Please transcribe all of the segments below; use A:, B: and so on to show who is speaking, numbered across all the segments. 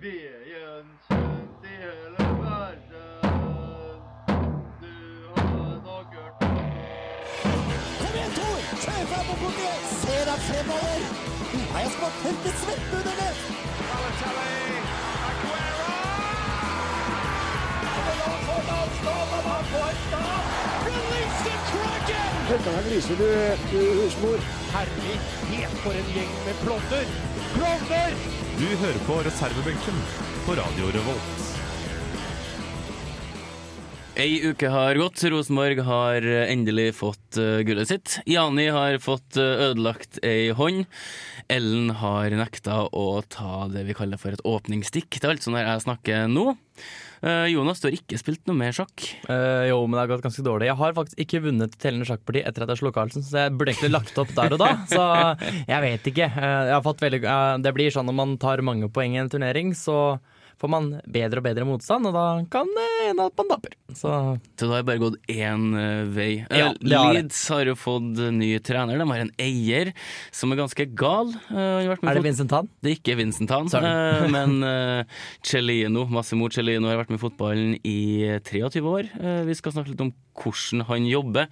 A: Veden kjent i hele verden. Du har nok hørt om
B: Kom igjen, Tor! Kjør fram og bort igjen! Se deg fremover! Nå har jeg spart helt til svetten under det!
C: Du hører på reservebenken på Radio Revolt.
D: Ei uke har gått. Rosenborg har endelig fått eh, gullet sitt. Jani har fått eh, ødelagt ei hånd. Ellen har nekta å ta det vi kaller for et åpningsstikk. Det er altså når jeg snakker nå. Eh, Jonas, du har ikke spilt noe mer sjakk.
E: Eh, jo, men det har gått ganske dårlig. Jeg har faktisk ikke vunnet tellende sjakkparti etter at jeg slo Carlsen, så jeg burde egentlig lagt opp der og da. Så jeg vet ikke. Eh, jeg har fått veldig, eh, det blir sånn når man tar mange poeng i en turnering, så får man bedre og bedre motstand, og da kan det hende at man dapper. Så
D: Så det har bare gått én eh, vei. Eh,
E: Ja, det har det.
D: Leeds har jo fått ny trener. De har en eier som er ganske gal. Eh, han har vært med
E: er det
D: fot-
E: Vincent Tan?
D: Det er ikke Vincent Han, eh, men eh, Celino, Massimo Celino har vært med i fotballen i 23 år. Eh, Vi skal snakke litt om hvordan han jobber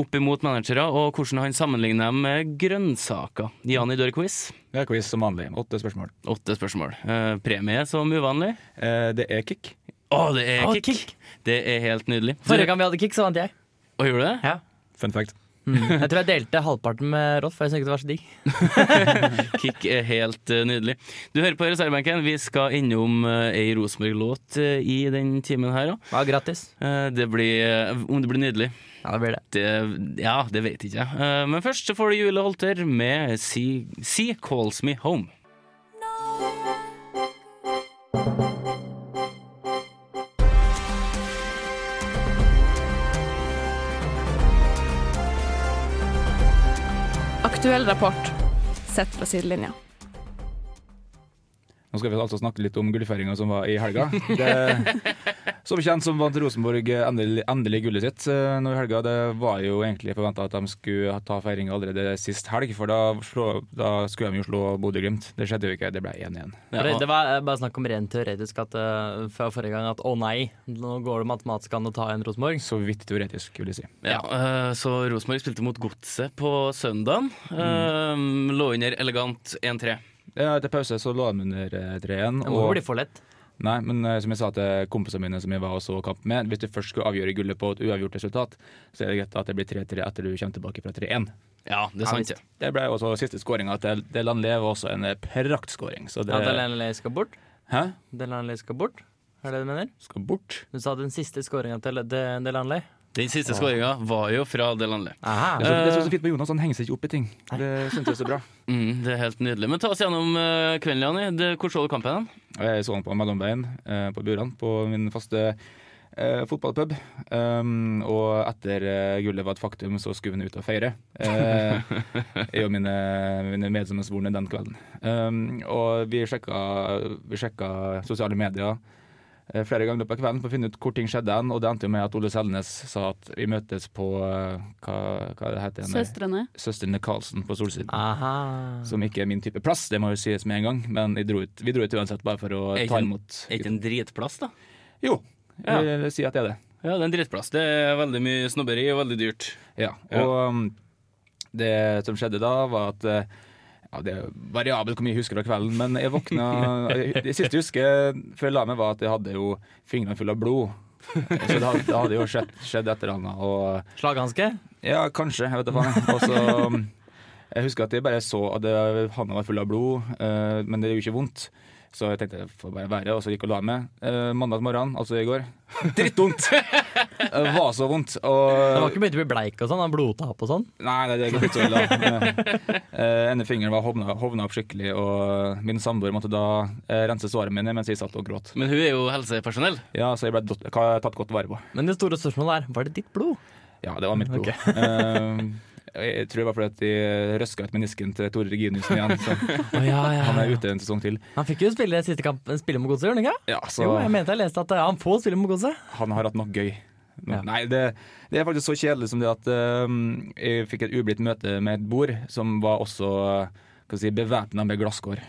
D: opp imot managere, og hvordan han sammenligner dem med grønnsaker. Jani Dørquiz,
F: Det er quiz som vanlig. Åtte spørsmål.
D: åtte spørsmål. Eh, Premie som uvanlig.
F: Eh, det er kick.
D: Å, det er
E: Å,
D: kick. Det er helt nydelig.
E: Forrige gang vi hadde kick, så vant jeg. Mm.
D: Å, gjorde du det?
E: Ja.
F: Fun fact.
E: Jeg tror jeg delte halvparten med Rolf, for jeg syntes ikke det var så digg.
D: Kick er helt eh, nydelig. Du hører på reservebenken. Vi skal innom eh, ei Rosenborg-låt eh, i den timen her òg.
E: Det var gratis.
D: Det blir eh, Om det blir nydelig.
E: Ja, det blir det.
D: Det, ja, det vet ikke jeg. Eh, Men først så får du Jule Holter med Sea, sea Calls Me Home.
G: Aktuell rapport sett fra sidelinja.
F: Nå skal vi altså snakke litt om gullfeiringa som var i helga. Det, som kjent som vant Rosenborg endelig, endelig gullet sitt eh, nå i helga. Det var jo egentlig forventa at de skulle ta feiringa allerede sist helg, for da, slå, da skulle de jo slå Bodø-Glimt. Det skjedde jo ikke, det ble 1-1.
D: Ja,
E: For
D: og-
E: det var eh, bare snakk om rent teoretisk at, eh, fra forrige gang at å nei, nå går det matematisk an å ta en Rosenborg.
F: Så vidt teoretisk, vil jeg si.
D: ja, eh, så Rosenborg spilte mot Godset på søndagen. Eh, Lå under elegant 1-3.
F: Ja, etter pause så lå de under eh, 3-1.
E: Det må jo
F: og-
E: bli for lett.
F: Nei, men eh, som jeg sa til kompisene mine som jeg var og så kamp med, hvis du først skulle avgjøre gullet på et uavgjort resultat, så er det greit at det blir 3-3 etter du kommer tilbake fra 3-1.
D: Ja, det er sant. det.
F: Det ble jo også siste skåringa til Delan Lev, også en eh, praktskåring. Så det
E: At Delaney skal bort?
F: Hæ?
E: Delaney skal bort? Er det det du mener?
F: Skal bort?
E: Du sa den siste skåringa til De- Delaney?
D: Den siste skåringa var jo fra Delanle.
F: Det er så- det er så fint med Jonas, han henger seg ikke opp i ting. Det syns jeg er så bra.
D: Mm, det er helt nydelig. Men ta oss gjennom eh, kvelden, Jani. Det- Hvor så du kampen? hen?
F: Og Jeg så han på mellomveien eh, på Buran, på min faste eh, fotballpub. Um, og etter eh, gullet var et faktum, så skulle vi nå ut og feire. Eh, jeg og mine, mine medsammensvorne den kvelden. Um, og vi sjekka, vi sjekka sosiale medier eh, flere ganger i løpet av kvelden for å finne ut hvor ting skjedde hen. Og det endte jo med at Ole Selnes sa at vi møtes på eh, hva, hva det heter det?
H: Søstrene.
F: Søstrene Karlsen på Solsiden.
E: Aha.
F: Som ikke er min type plass, det må jo sies med en gang. Men jeg dro ut, vi dro ut uansett bare for å
D: Er ikke
F: ta
D: en-
F: imot
D: Er ikke en dritplass, da?
F: Jo,
D: Ja.
F: jeg vil si at det er det.
D: Ja, det er en dritplass. Det er veldig mye snobberi og veldig dyrt.
F: Ja.
D: Ja.
F: Og um, det som skjedde da, var at eh, ja, Det er variabelt hvor mye jeg husker fra kvelden, men jeg våkna Det siste jeg husker før jeg la meg, var at jeg hadde jo fingrene fulle av blod. Så det hadde, det hadde jo skjedd, skjedd et eller annet. Og
E: Slaghanske?
F: Ja, kanskje. Jeg vet da faen. jeg. Og så um, Jeg husker at jeg bare så at det- handa var full av blod, eh, men det gjør jo ikke vondt. Så jeg tenkte det får bare være, og så gikk jeg og la meg. Eh, mandag morgen, altså i går, drittvondt! Det var så vondt.
E: Det
F: Og
E: var ikke begynt å bli bleik og sånn? han Blodtap og sånn?
F: Nei, nei, det er ikke så ille. Eh, ene fingeren var hovna, hovna opp skikkelig, og min samboer måtte da eh, rense sårene mine mens jeg satt og gråt.
D: Men hun er jo helsepersonell.
F: Ja, så jeg ble dott- ka- tatt godt vare på.
E: Men det store spørsmålet er, var det ditt blod?
F: Ja, det var mitt blod. Eh, jeg tror det var fordi at de røska ut menisken til Tore Reginiussen igjen. Så. Han er ute en sesong til.
E: Han fikk jo spille siste kamp, spille med godset, gjorde han ikke?
F: Ja, så
E: Jo, jeg mente jeg leste at ja, han får spille med godset.
F: han har hatt nok gøy. Nå-
E: Ja.
F: Nei, det, det er faktisk så kjedelig som det at eh, jeg eh, fikk et ublidt møte med et bord som var også uh, si, bevæpna med glasskår.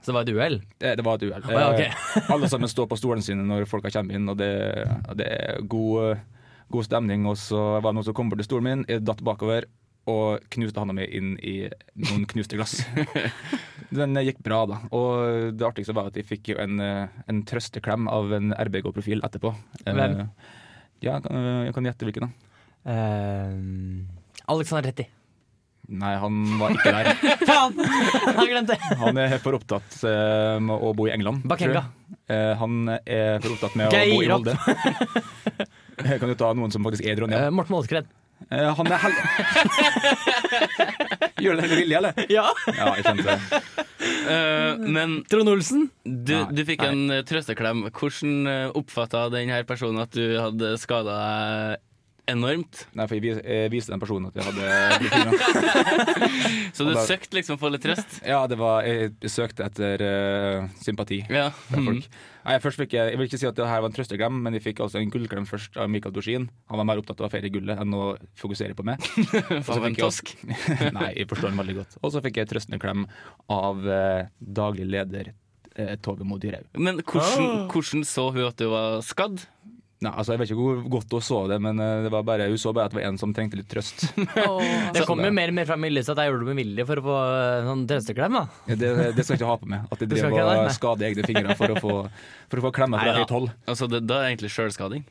E: Så det var et uhell?
F: Det, det var et uhell.
E: ja, ok.
F: Eh, Alle sammen står på stolene sine når folka kommer inn, og det, og det er god, god stemning. Og så var det noen som kom bort til stolen min, jeg datt bakover og knuste handa mi inn i noen knuste glass. Den eh, gikk bra, da. Og det artigste var at jeg fikk jo en, eh, en trøsteklem av en RBG-profil etterpå. Eh,
E: Hvem?
F: Ja, jeg kan, eh, jeg kan gjette hvilken, da.
E: Uh, Alexander Retti.
F: Nei, han var ikke der.
E: Faen! Jeg glemte det!
F: Han er for opptatt eh, med å bo i England. tror jeg.
E: Bakenga.
F: Eh, han er for opptatt med å
E: Geir
F: bo i
E: opp.
F: Molde. Eh, kan du ta noen som faktisk er dronning?
E: Eh, Morten Målskred.
F: Eh, han er hel... Gjør du det med vilje, eller?
E: Ja.
F: Ja, jeg kjente det.
D: Eh, men
E: Trond Olsen.
D: du,
F: Nei,
D: du fikk
F: nei.
D: en eh, trøsteklem. Hvordan eh, oppfatta denne personen at du hadde skada deg enormt?
F: Nei, for jeg vis- jeg viste den personen at jeg hadde blitt
D: Så du
F: Og da-
D: søkte liksom for litt trøst?
F: Ja, det var Jeg søkte etter eh, sympati.
D: Ja.
F: fra folk. Nei, først fikk jeg, jeg vil ikke si at det her var en trøsteklem, men jeg fikk altså en gullklem først av Mikael Dorsin. Han var mer opptatt av å feire gullet enn å fokusere på meg.
D: Mm. Faen, for en tosk.
F: Nei, jeg forstår den veldig godt. Og så fikk jeg trøstende klem av eh, daglig leder eh, Tove Mo Dyrhaug.
D: Men hvordan, hvordan så hun at du var skadd?
F: Nei, altså Jeg vet ikke hvor godt hun så det, men eh, det var bare, hun så bare at det var en som trengte litt trøst.
G: Åh.
E: Det kommer jo mer og mer fram i lyset at jeg gjorde det med vilje for å få eh, sånn trøsteklem.
F: Det,
E: da
F: det skal jeg ikke ha på meg. At jeg
E: Du skal
F: drev
E: ikke ha det,
F: og
E: nei.
F: skade egne fingre for å få, for å få klemmer fra
D: Neida.
F: høyt hold.
D: Altså, det, da er det egentlig sjølskading.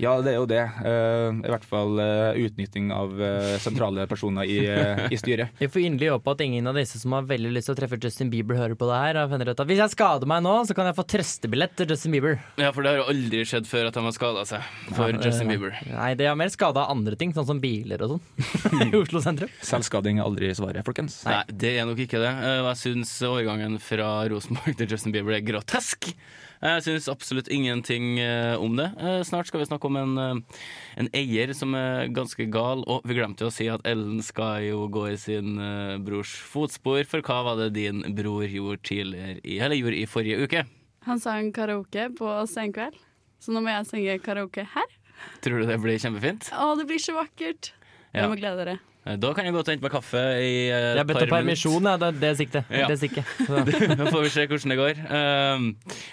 F: Ja, det er jo det. Eh, I hvert fall eh, utnytting av eh, sentrale personer i, eh, i styret.
E: Vi får inderlig håpe at ingen av disse som har veldig lyst til å treffe Justin Bieber, hører på det her. og finner ut at Hvis jeg skader meg nå, så kan jeg få trøstebillett til Justin Bieber.
D: Ja, for det har jo aldri skjedd før at de har skada seg for
E: Ja,
D: Justin
E: eh,
D: Bieber.
E: Nei, det har mer skada andre ting, sånn som biler og sånn. I Oslo sentrum.
F: Selvskading er aldri svaret, folkens.
D: Nei, det er nok ikke det. Eh, Og jeg syns overgangen fra Rosenborg til Justin Bieber er grotesk. Jeg syns absolutt ingenting eh, om det. Eh, Snart skal vi snakke om en, eh, en eier som er ganske gal. Og vi glemte jo å si at Ellen skal jo gå i sin eh, brors fotspor, for hva var det din bror gjorde tidligere i, eller gjorde i forrige uke?
G: Han sang karaoke på Senkveld, så nå må jeg synge karaoke her.
D: Tror du det blir kjempefint?
G: Å, det blir så vakkert!
D: Ja.
G: Dere må glede dere.
D: Eh, Da kan jeg godt hente meg kaffe i eh,
E: Jeg
D: et
E: bedt om
D: par minutter.
E: permisjon, ja, det, det siktet.
D: Ja.
E: Det siktet. Så.
D: Da får vi se hvordan det går. Ehm,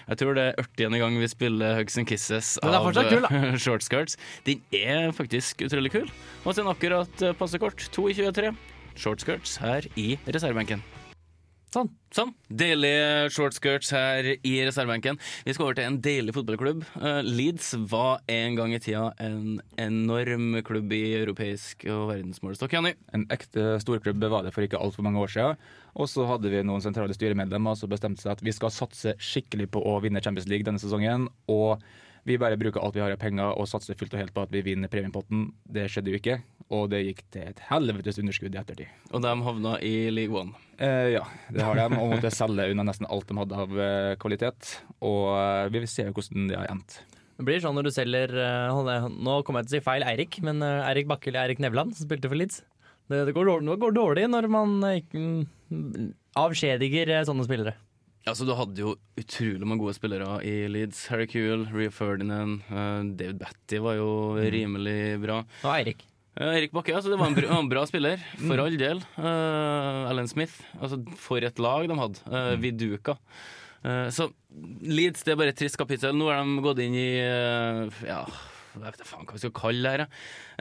D: jeg tror det er 80. gang vi spiller Hugs and Kisses
E: Men den er
D: av
E: fortsatt kul,
D: eh, Short Skirts. Den er faktisk utrolig kul. Og sen akkurat eh, passe kort, 2.23, Short Skirts her i reservebenken.
E: Sånn.
D: Sånn. Deilige short skirts her i reservebenken. Vi skal over til en deilig fotballklubb. Eh, Leeds var en gang i tida en enorm klubb i europeisk og verdensmålestokk, Janni.
F: En ekte storklubb var det for ikke altfor mange år siden. Og så hadde vi noen sentrale styremedlemmer som bestemte seg at vi skal satse skikkelig på å vinne Champions League denne sesongen. Og vi bare bruker alt vi har av penger og satser fullt og helt på at vi vinner premiepotten. Det skjedde jo ikke, og det gikk til et helvetes underskudd i ettertid.
D: Og de havna i League One.
F: Eh, ja, det har de, og måtte selge unna nesten alt de hadde av eh, kvalitet. Og eh, vi ser jo hvordan det har endt.
E: Det blir sånn når du selger eh, hold- eh, Nå kommer jeg til å si feil Eirik, men eh, Eirik Bakke eller Eirik Nevland som spilte for Leeds. Det, det, går dårlig, det går dårlig når man eh, ikke, mm, avskjediger eh, sånne spillere.
D: Altså, Du hadde jo utrolig mange gode spillere i Leeds. Harry Kuehl, Ree Ferdinand, eh, David Batty var jo rimelig bra.
E: Og Eirik.
D: Eh, Erik Bakke, altså, det var en bra, en bra spiller, for all del. Eh, Alan Smith. altså For et lag de hadde. Eh, Viduka. Eh, så Leeds det er bare et trist kapittel. Nå har de gått inn i eh, ja, jeg vet da faen hva vi skal kalle det her. jeg.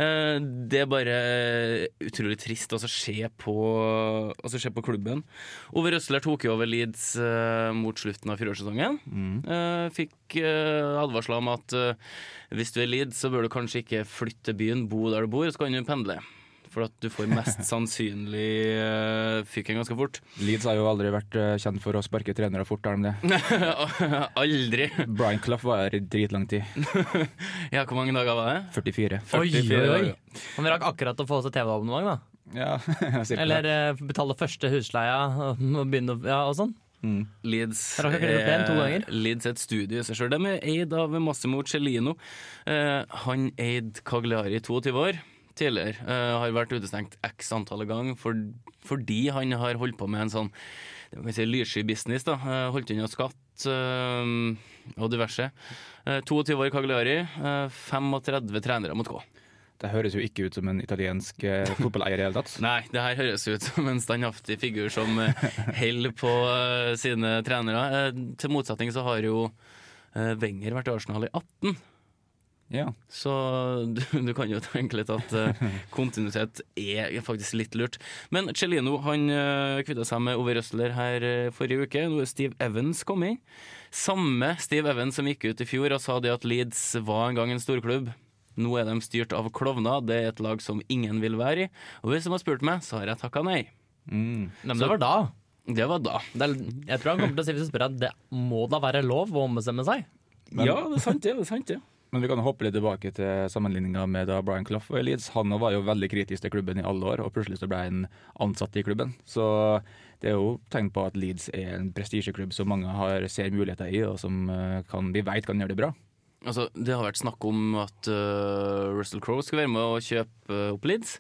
D: Eh, det er bare eh, utrolig trist å se på, altså, se på klubben. Ove Røsler tok jo over Leeds eh, mot slutten av fjorårssesongen. Eh, fikk eh, advarsler om at eh, hvis du er Leeds, så bør du kanskje ikke flytte til byen, bo der du bor, så kan du pendle. For at du får mest sannsynlig eh, fyken ganske fort.
F: Leeds har jo aldri vært eh, kjent for å sparke trenere fort, har de det?
D: Aldri!
F: Brian Clough var her i dritlang tid.
D: Ja, hvor mange dager var det?
F: 44.
D: dager.
E: Han rakk akkurat å få seg TV-abonnement, da.
F: Ja, cirka.
E: Eller eh, betale første husleia og og begynne å ja, og sånn.
D: Leeds eh,
E: Jeg rakk akkurat å opp igjen to ganger.
D: Leeds er et studio i seg sjøl. De er eid av Massimo Cellino. Eh, han eide Cagliari i 22 år tidligere. Eh, har vært utestengt x antall ganger for, fordi han har holdt på med en sånn det man kan si lyssky business. da, Eh, Holdt unna skatt eh, og diverse. Eh, 22 år Cagliari, eh, 35 trenere mot K.
F: Det høres jo ikke ut som en italiensk eh, fotballeier i det hele tatt.
D: Nei, det her høres ut som en standhaftig figur som eh, holder på eh, sine trenere. Eh, Til motsetning så har jo eh, Wenger vært i Arsenal i 18,
F: Ja.
D: så du, du kan jo tenke litt at eh, kontinuitet er faktisk litt lurt. Men Celino han eh, kvitta seg med Ove Røsler her eh, forrige uke. Nå er Steve Evans kommet. Samme Steve Evans som gikk ut i fjor og sa det at Leeds var en gang en storklubb. Nå er de styrt av klovner, det er et lag som ingen vil være i. Og hvis de har spurt meg, så har jeg takka nei.
F: Mm.
E: Nei, men det var da.
D: Det var da.
E: Det er, jeg tror han kommer til å si hvis du spør at det må da være lov å ombestemme seg.
D: ja, det er sant det. det er sant det.
F: Men vi kan hoppe litt tilbake til sammenligninga med da Brian Clough var i Leeds. Han var jo veldig kritisk til klubben i alle år, og plutselig så ble han ansatt i klubben. Så det er jo tegn på at Leeds er en prestisjeklubb som mange har, ser muligheter i, og som eh, kan, vi veit kan gjøre det bra.
D: Altså, det har vært snakk om at øh, Russell Crowe skal være med å kjøpe øh, opp Leeds.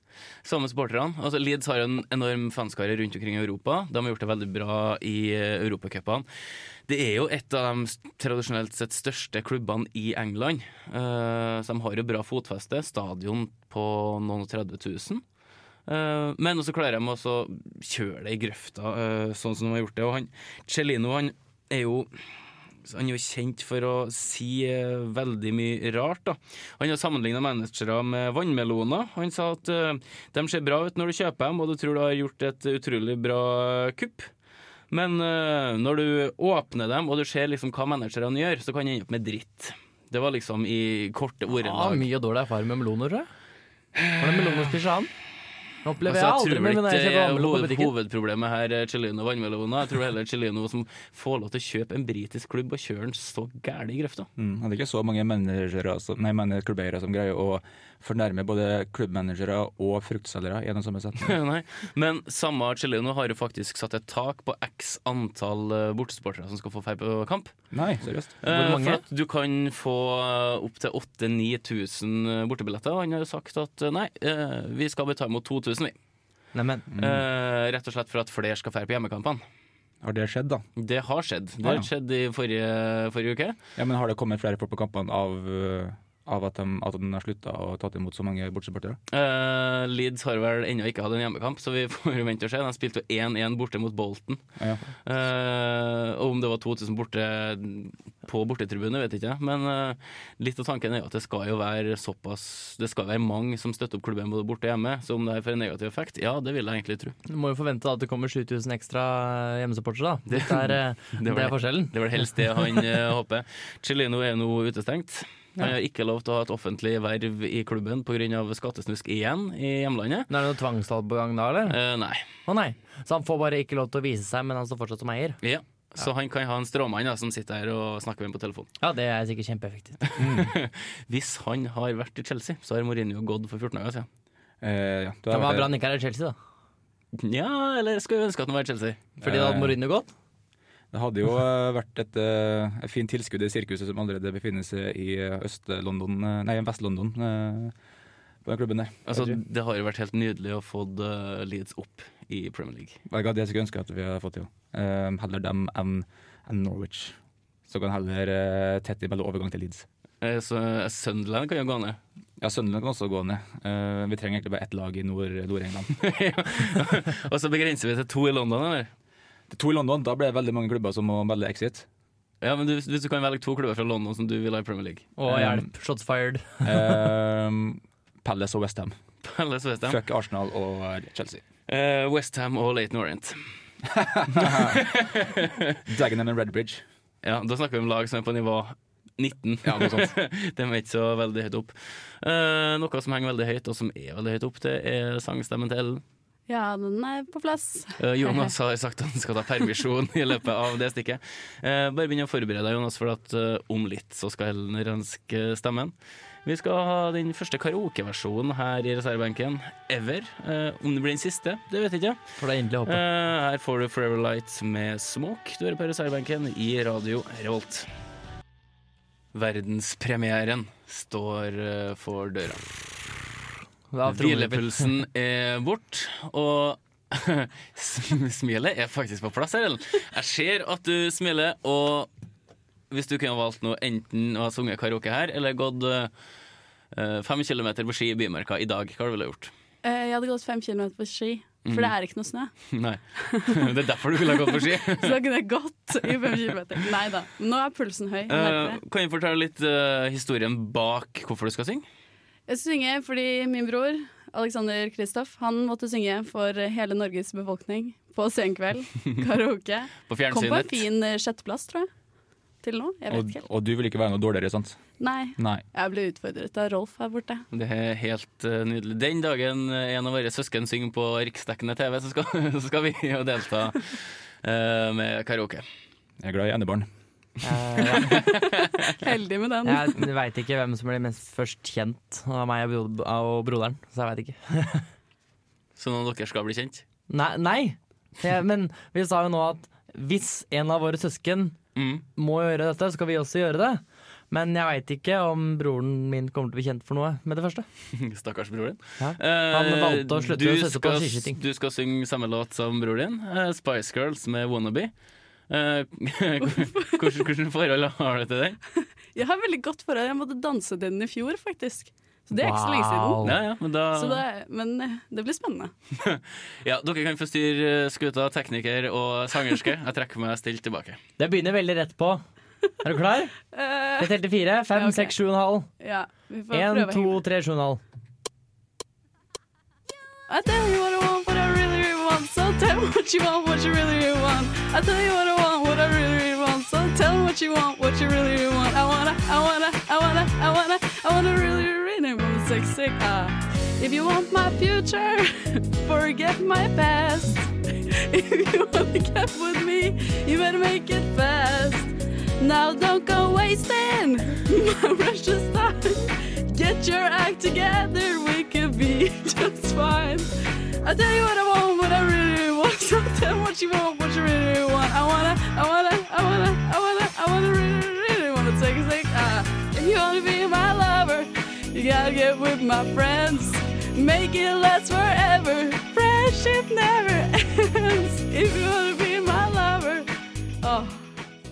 D: Samme supporterne. Altså, Leeds har en enorm fanskare rundt omkring i Europa. De har gjort det veldig bra i øh, europacupene. Det er jo et av de s- tradisjonelt sett største klubbene i England. Eh, så de har jo bra fotfeste. Stadion på noen og 30 000. Eh, men også klarer de også å kjøre det i grøfta, eh, sånn som de har gjort det. Og han, Celino han er jo så Han er jo kjent for å si eh, veldig mye rart. Da. Han har sammenligna managere med vannmeloner. Han sa at eh, de ser bra ut når du kjøper dem, og du tror du har gjort et utrolig bra kupp. Men eh, når du åpner dem, og du ser liksom hva managerne gjør, så kan det ende opp med dritt. Det var liksom i korte
E: Ja,
D: ordelag.
E: mye dårlig erfaring med meloner, tror jeg. Var det melonerspiser han? Det opplever
D: Altså,
E: jeg aldri men når
D: det
E: jeg kjøper
D: er
E: vannmelon på
D: hoved,
E: butikken.
D: hovedproblemet her er Celino og vannmeloner. Jeg tror heller Celino som får lov til å kjøpe en britisk klubb og kjøre den så gæren i grøfta.
F: Mm. Det er ikke så mange managere som- nei, men- klubbeiere som greier å fornærme både klubbmanagere og fruktselgere i en og samme setning.
D: Nei, men samme Arcellino har jo faktisk satt et tak på x antall eh, bortesupportere som skal få feil på kamp.
F: Nei, seriøst.
D: Eh,
E: mange?
D: For at du kan få eh, opptil 8000-9000 eh, bortebilletter. Og han har jo sagt at eh, nei, eh, vi skal bare ta imot 2000, vi.
E: Neimen,
D: Eh, Rett og slett for at flere skal feire på hjemmekampene.
F: Har det skjedd, da?
D: Det har skjedd. Det
F: Ja, ja.
D: har skjedd i forrige, forrige uke.
F: Ja, men Har det kommet flere folk på kampene av, eh, av at, de, at de har slutta å ta imot så mange bortsupportere?
D: Eh, Leeds har vel ennå ikke hatt en hjemmekamp, så vi får jo vente og se. De spilte jo 1-1 borte mot Bolton.
F: Ja.
D: Eh, og om det var 2000 borte på bortetribunet, vet jeg ikke. Men eh, litt av tanken er jo at det skal jo være såpass Det skal være mange som støtter opp klubben både borte og hjemme. Så om det her får en negativ effekt, ja, det vil jeg egentlig tro.
E: du må jo forvente da at det kommer 7000 ekstra eh, hjemmesupportere, da. Det
D: Det-
E: er, eh,
D: det var
E: det er
D: det.
E: forskjellen.
D: Det er vel helst det han eh, håper. Celino er nå utestengt. Han har ikke lov til å ha et offentlig verv i klubben pga. skattesnusk igjen i hjemlandet.
E: Men Er det noe tvangstall på gang da, eller?
D: Eh, nei.
E: Å nei. Så han får bare ikke lov til å vise seg, men han står fortsatt som eier.
D: Ja. Så han kan ha en stråmann da, som sitter her og snakker med ham på telefon.
E: Ja, det er sikkert kjempeeffektivt.
D: Hvis han har vært i Chelsea, så har Mourinho gått for 14 dager siden.
F: Eh, ja, det
E: Det
F: har
E: var
F: vært-
E: bra han ikke er i Chelsea, da.
D: Ja, eller skulle ønske at han var i Chelsea.
E: Fordi da
F: Eh.
E: hadde Mourinho gått.
F: Det hadde jo eh, vært et, eh, et fint tilskudd i sirkuset som allerede befinner seg i eh, Øst-London, eh, nei, Vest-London, eh, på den klubben der.
D: Altså, det har jo vært helt nydelig å få eh, Leeds opp i Premier League.
F: Vet du hva, det skulle jeg ønske at vi hadde fått til. Eh, heller dem enn enn Norwich. Så kan heller eh, tett imellom overgang til Leeds.
D: Eh, Så eh, Sunderland kan jo gå ned.
F: Ja, Sunderland kan også gå ned. Eh, vi trenger egentlig bare ett lag i Nord- Nord-England.
D: Og så begrenser vi til to i London, eller?
F: Det er to i London, da blir det veldig mange klubber som må melde exit.
D: Ja, men du, Hvis du kan velge to klubber fra London som du vil ha i Premier League
E: Å,
F: Eh.
E: hjelp. Shots fired.
F: Eh, Palace og Westham.
D: Eller så vet jeg.
F: Fuck Arsenal og Chelsea.
D: Eh, West Ham og Leighton Orient.
F: Dagenham og Redbridge.
D: Ja, Da snakker vi om lag som er på nivå 19.
F: Ja, noe sånt.
D: De er ikke så veldig høyt opp. Eh, noe som henger veldig høyt, og som er veldig høyt opp, det er sangstemmen til Ellen.
G: Ja, den er på plass.
D: Eh, Jonas har sagt at han skal ta permisjon i løpet av det stikket. Eh, bare begynn å forberede deg, Jonas, for at eh, om litt så skal Ellen renske stemmen. Vi skal ha den første karaokeversjonen her i reservebenken ever. Eh, om det blir den siste, det vet jeg ikke.
E: For det er endelig
D: Eh,
E: håpet.
D: her får du Forever Light med Smoke. Du hører på reservebenken i Radio Revolt. Verdenspremieren står eh, for døra.
E: Da tror jeg-
D: Hvilepulsen er eh, bort, og sm- smilet er faktisk på plass her, Ellen. Jeg ser at du smiler, og hvis du kunne valgt noe, enten å ha sunget karaoke her, eller gått eh, Eh, Fem kilometer på ski i bymarka i dag, hva har du ville gjort?
G: Eh, Jeg hadde gått fem kilometer på ski, for det er ikke noe snø.
D: Nei. Det er derfor du ville ha gått på ski.
G: Så da kunne jeg gått i fem kilometer. Nei da. Nå er pulsen høy. jeg merker
D: Eh,
G: det.
D: kan du fortelle litt eh, historien bak hvorfor du skal synge?
G: Jeg synger fordi min bror, Alexander Kristoff, han måtte synge for hele Norges befolkning på senkveld. Karaoke.
D: På
G: Kom på en
D: fjernsynet?
G: fin eh, sjetteplass, tror jeg. Til nå. Jeg vet
F: Og,
G: ikke helt.
F: og du vil ikke være noe dårligere, sant?
G: Nei.
F: Nei.
G: Jeg ble utfordret av Rolf her borte.
D: Det er helt eh, nydelig. Den dagen eh, en av våre søsken synger på riksdekkende TV, så skal, så skal vi jo delta eh, med karaoke.
F: Jeg er glad i enebarn.
E: Eh,
G: Heldig med den.
E: jeg veit ikke hvem som blir mest først kjent av meg og, bro og broderen, så jeg veit ikke.
D: Så noen av dere skal bli kjent.
E: Nei, nei. Eh, men vi sa jo nå at hvis en av våre søsken
D: Mm.
E: må gjøre dette, skal vi også gjøre det. Men jeg veit ikke om broren min kommer til å bli kjent for noe med det første.
D: Stakkars bror din.
E: Ja.
D: Eh,
E: Han valgte å slutte
D: du
E: å sette på
D: skal-
E: skiskyting.
D: Du skal synge samme låt som bror din, eh, Spice Girls med Wannabe. Eh, hvordan, hvordan forhold har du til den?
G: Jeg har veldig godt forhold. Jeg måtte danse til den i fjor, faktisk. Så det er ikke så lenge siden.
E: Wow.
D: Ja, ja, men da,
G: Så det, men eh, det blir spennende.
D: ja, dere kan få styre eh, skuta, tekniker og sangerske. Jeg trekker meg stilt tilbake.
E: Det begynner veldig rett på. Er du klar?
G: Eh,
E: Jeg telte fire. Fem,
G: Ja, ok.
E: seks, sju og en halv.
G: ja, vi får
E: Én,
G: prøve. å
E: to,
G: henge med.
E: tre, sju og en halv.
G: I tell you what I want, what I really, really want. So tell me what you want, what you really, really want. I tell you what I want, what I really, really want. So tell me what you want, what you really, really want. I wanna, I wanna, I wanna, I wanna, I wanna really, really want sick, sick. Ah. If you want my future, forget my past. If you wanna get with me, you better make it fast. Now don't go wasting my precious time. Get your act together, we could be just fine. I tell you what I want, what I really want. So tell me what you want, what you really want. I wanna, I wanna, I wanna, I wanna, I wanna really, really wanna take a sick. Uh, if you wanna be my lover, you gotta get with my friends. Make it last forever. Friendship never ends. If you wanna be my lover. Oh.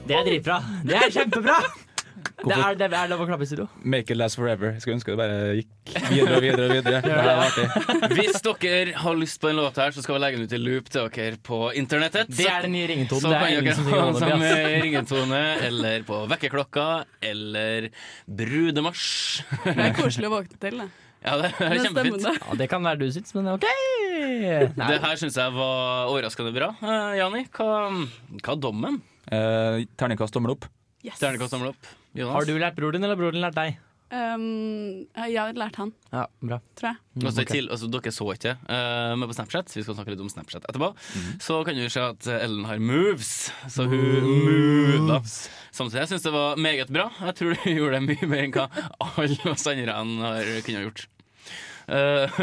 E: Det er dritbra. Det er kjempebra! Det er, det er lov å klappe i studio.
F: Make it last forever. Jeg skulle ønske det bare gikk videre og videre. og videre Det er artig.
D: Hvis dere har lyst på en låt her, så skal vi legge den ut i loop til dere på internettet.
E: Det er den nye ringetonen.
D: Så
E: Det er
D: kan
E: ingen
D: dere
E: som
D: ha
E: synger
D: den
E: Wannabe,
D: som
E: ass.
D: ringetone, eller på vekkerklokka, eller brudemarsj.
G: Det er koselig å våkne til, det.
D: Ja, det er
G: Den stemmen
D: kjempefint.
G: der.
E: Ja, det kan være du syns, men OK. Nei.
D: Det her syns jeg var overraskende bra. Eh, Jani, hva, hva er dommen?
F: Eh, terningkast tommel opp.
G: Yes.
D: Stjernekast tommel opp. Jonas?
E: Har du lært bror din, eller har broren lært deg?
G: Um, jeg har lært han,
E: Ja, bra.
G: tror jeg.
D: Og så i
E: ok.
D: til, altså, dere så ikke, eh, men på Snapchat Vi skal snakke litt om Snapchat etterpå. Så kan du se at eh, Ellen har moves, så hun mover. Samtidig jeg syns det var meget bra. Jeg tror du gjorde det mye mer enn hva alle oss andre enn har kunne ha gjort. Eh,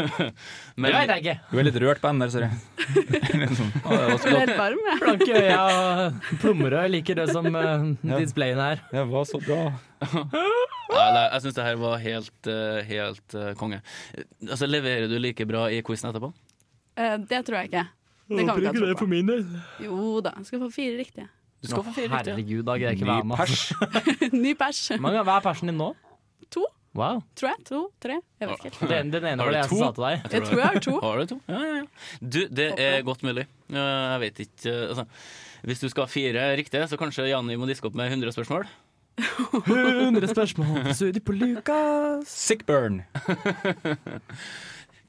D: men
E: Det veit jeg ikke.
F: Du er litt rørt på ender, ser jeg. Litt sånn. Å, det var så
G: Jeg ble
F: godt.
G: helt varm, jeg.
E: Blanke øya og plommerød like rød som uh, displayene her.
F: Det var så bra.
D: Ja, nei, jeg syns det her var helt, eh, helt eh, konge. Eh, Altså, Leverer du like bra i quizen etterpå?
G: Eh, det tror jeg ikke. Det kan vi ikke ha tro på.
E: min del.
G: Jo da, jeg skal få fire riktige.
D: Du skal få fire riktige.
E: Herregud, da greier jeg
F: Ny
E: ikke være med.
F: pers.
G: Ny pers.
E: Hvor mange- Hva er persen din nå?
G: To,
E: Wow.
G: tror jeg. To, tre. Jeg vet ikke helt.
E: Den, den ene
D: Har du
E: var det jeg
D: to?
E: som sa til deg.
G: Jeg tror jeg har to.
D: Har du to? Ja, ja, ja. Du, det er godt mulig. Eh, Jeg vet ikke eh, altså, Hvis du skal ha fire riktige, så kanskje Janni må diske opp med 100 spørsmål.
E: 100 spørsmål, studio på Lukas.
F: Sick burn.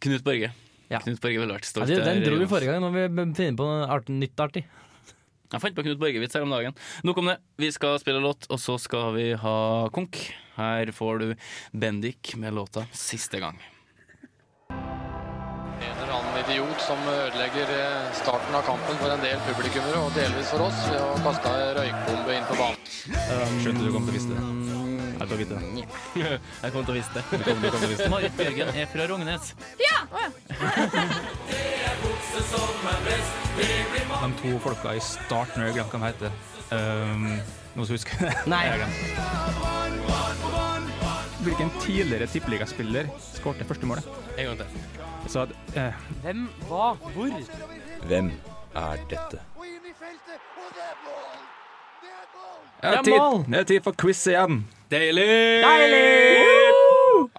D: Knut Borge.
E: Ja.
D: Knut Borge ville vært stolt.
E: Ja, du, den
D: der,
E: dro vi
D: Jonas.
E: forrige gang, når vi finner på noe art, nytt artig.
D: Jeg fant på Knut Borge-vits her om dagen. Nok om det. Vi skal spille låt, og så skal vi ha konk. Her får du Bendik med låta 'Siste gang'.
H: En eller annen idiot som ødelegger eh, starten av kampen for en del publikummere, og delvis for oss, ved å kaste ei røykbombe inn på banen.
F: Skjønte du kom til å vite det. Jeg kom til å vite det.
D: Jeg kom til å vise det. Marit Bjørgen er fra Rognes.
F: De to folka i starten, jeg glemte hva de heter. Um, noen som husker det?
E: Nei.
F: Jeg har glemt. Hvilken tidligere tippeligaspiller skårte første målet?
D: En gang til.
F: Så at, eh,
E: Hvem, hva, hvor?
I: Hvem er dette?
E: er tid.
F: Det er tid for quiz igjen.
D: Deilig!
E: Deilig!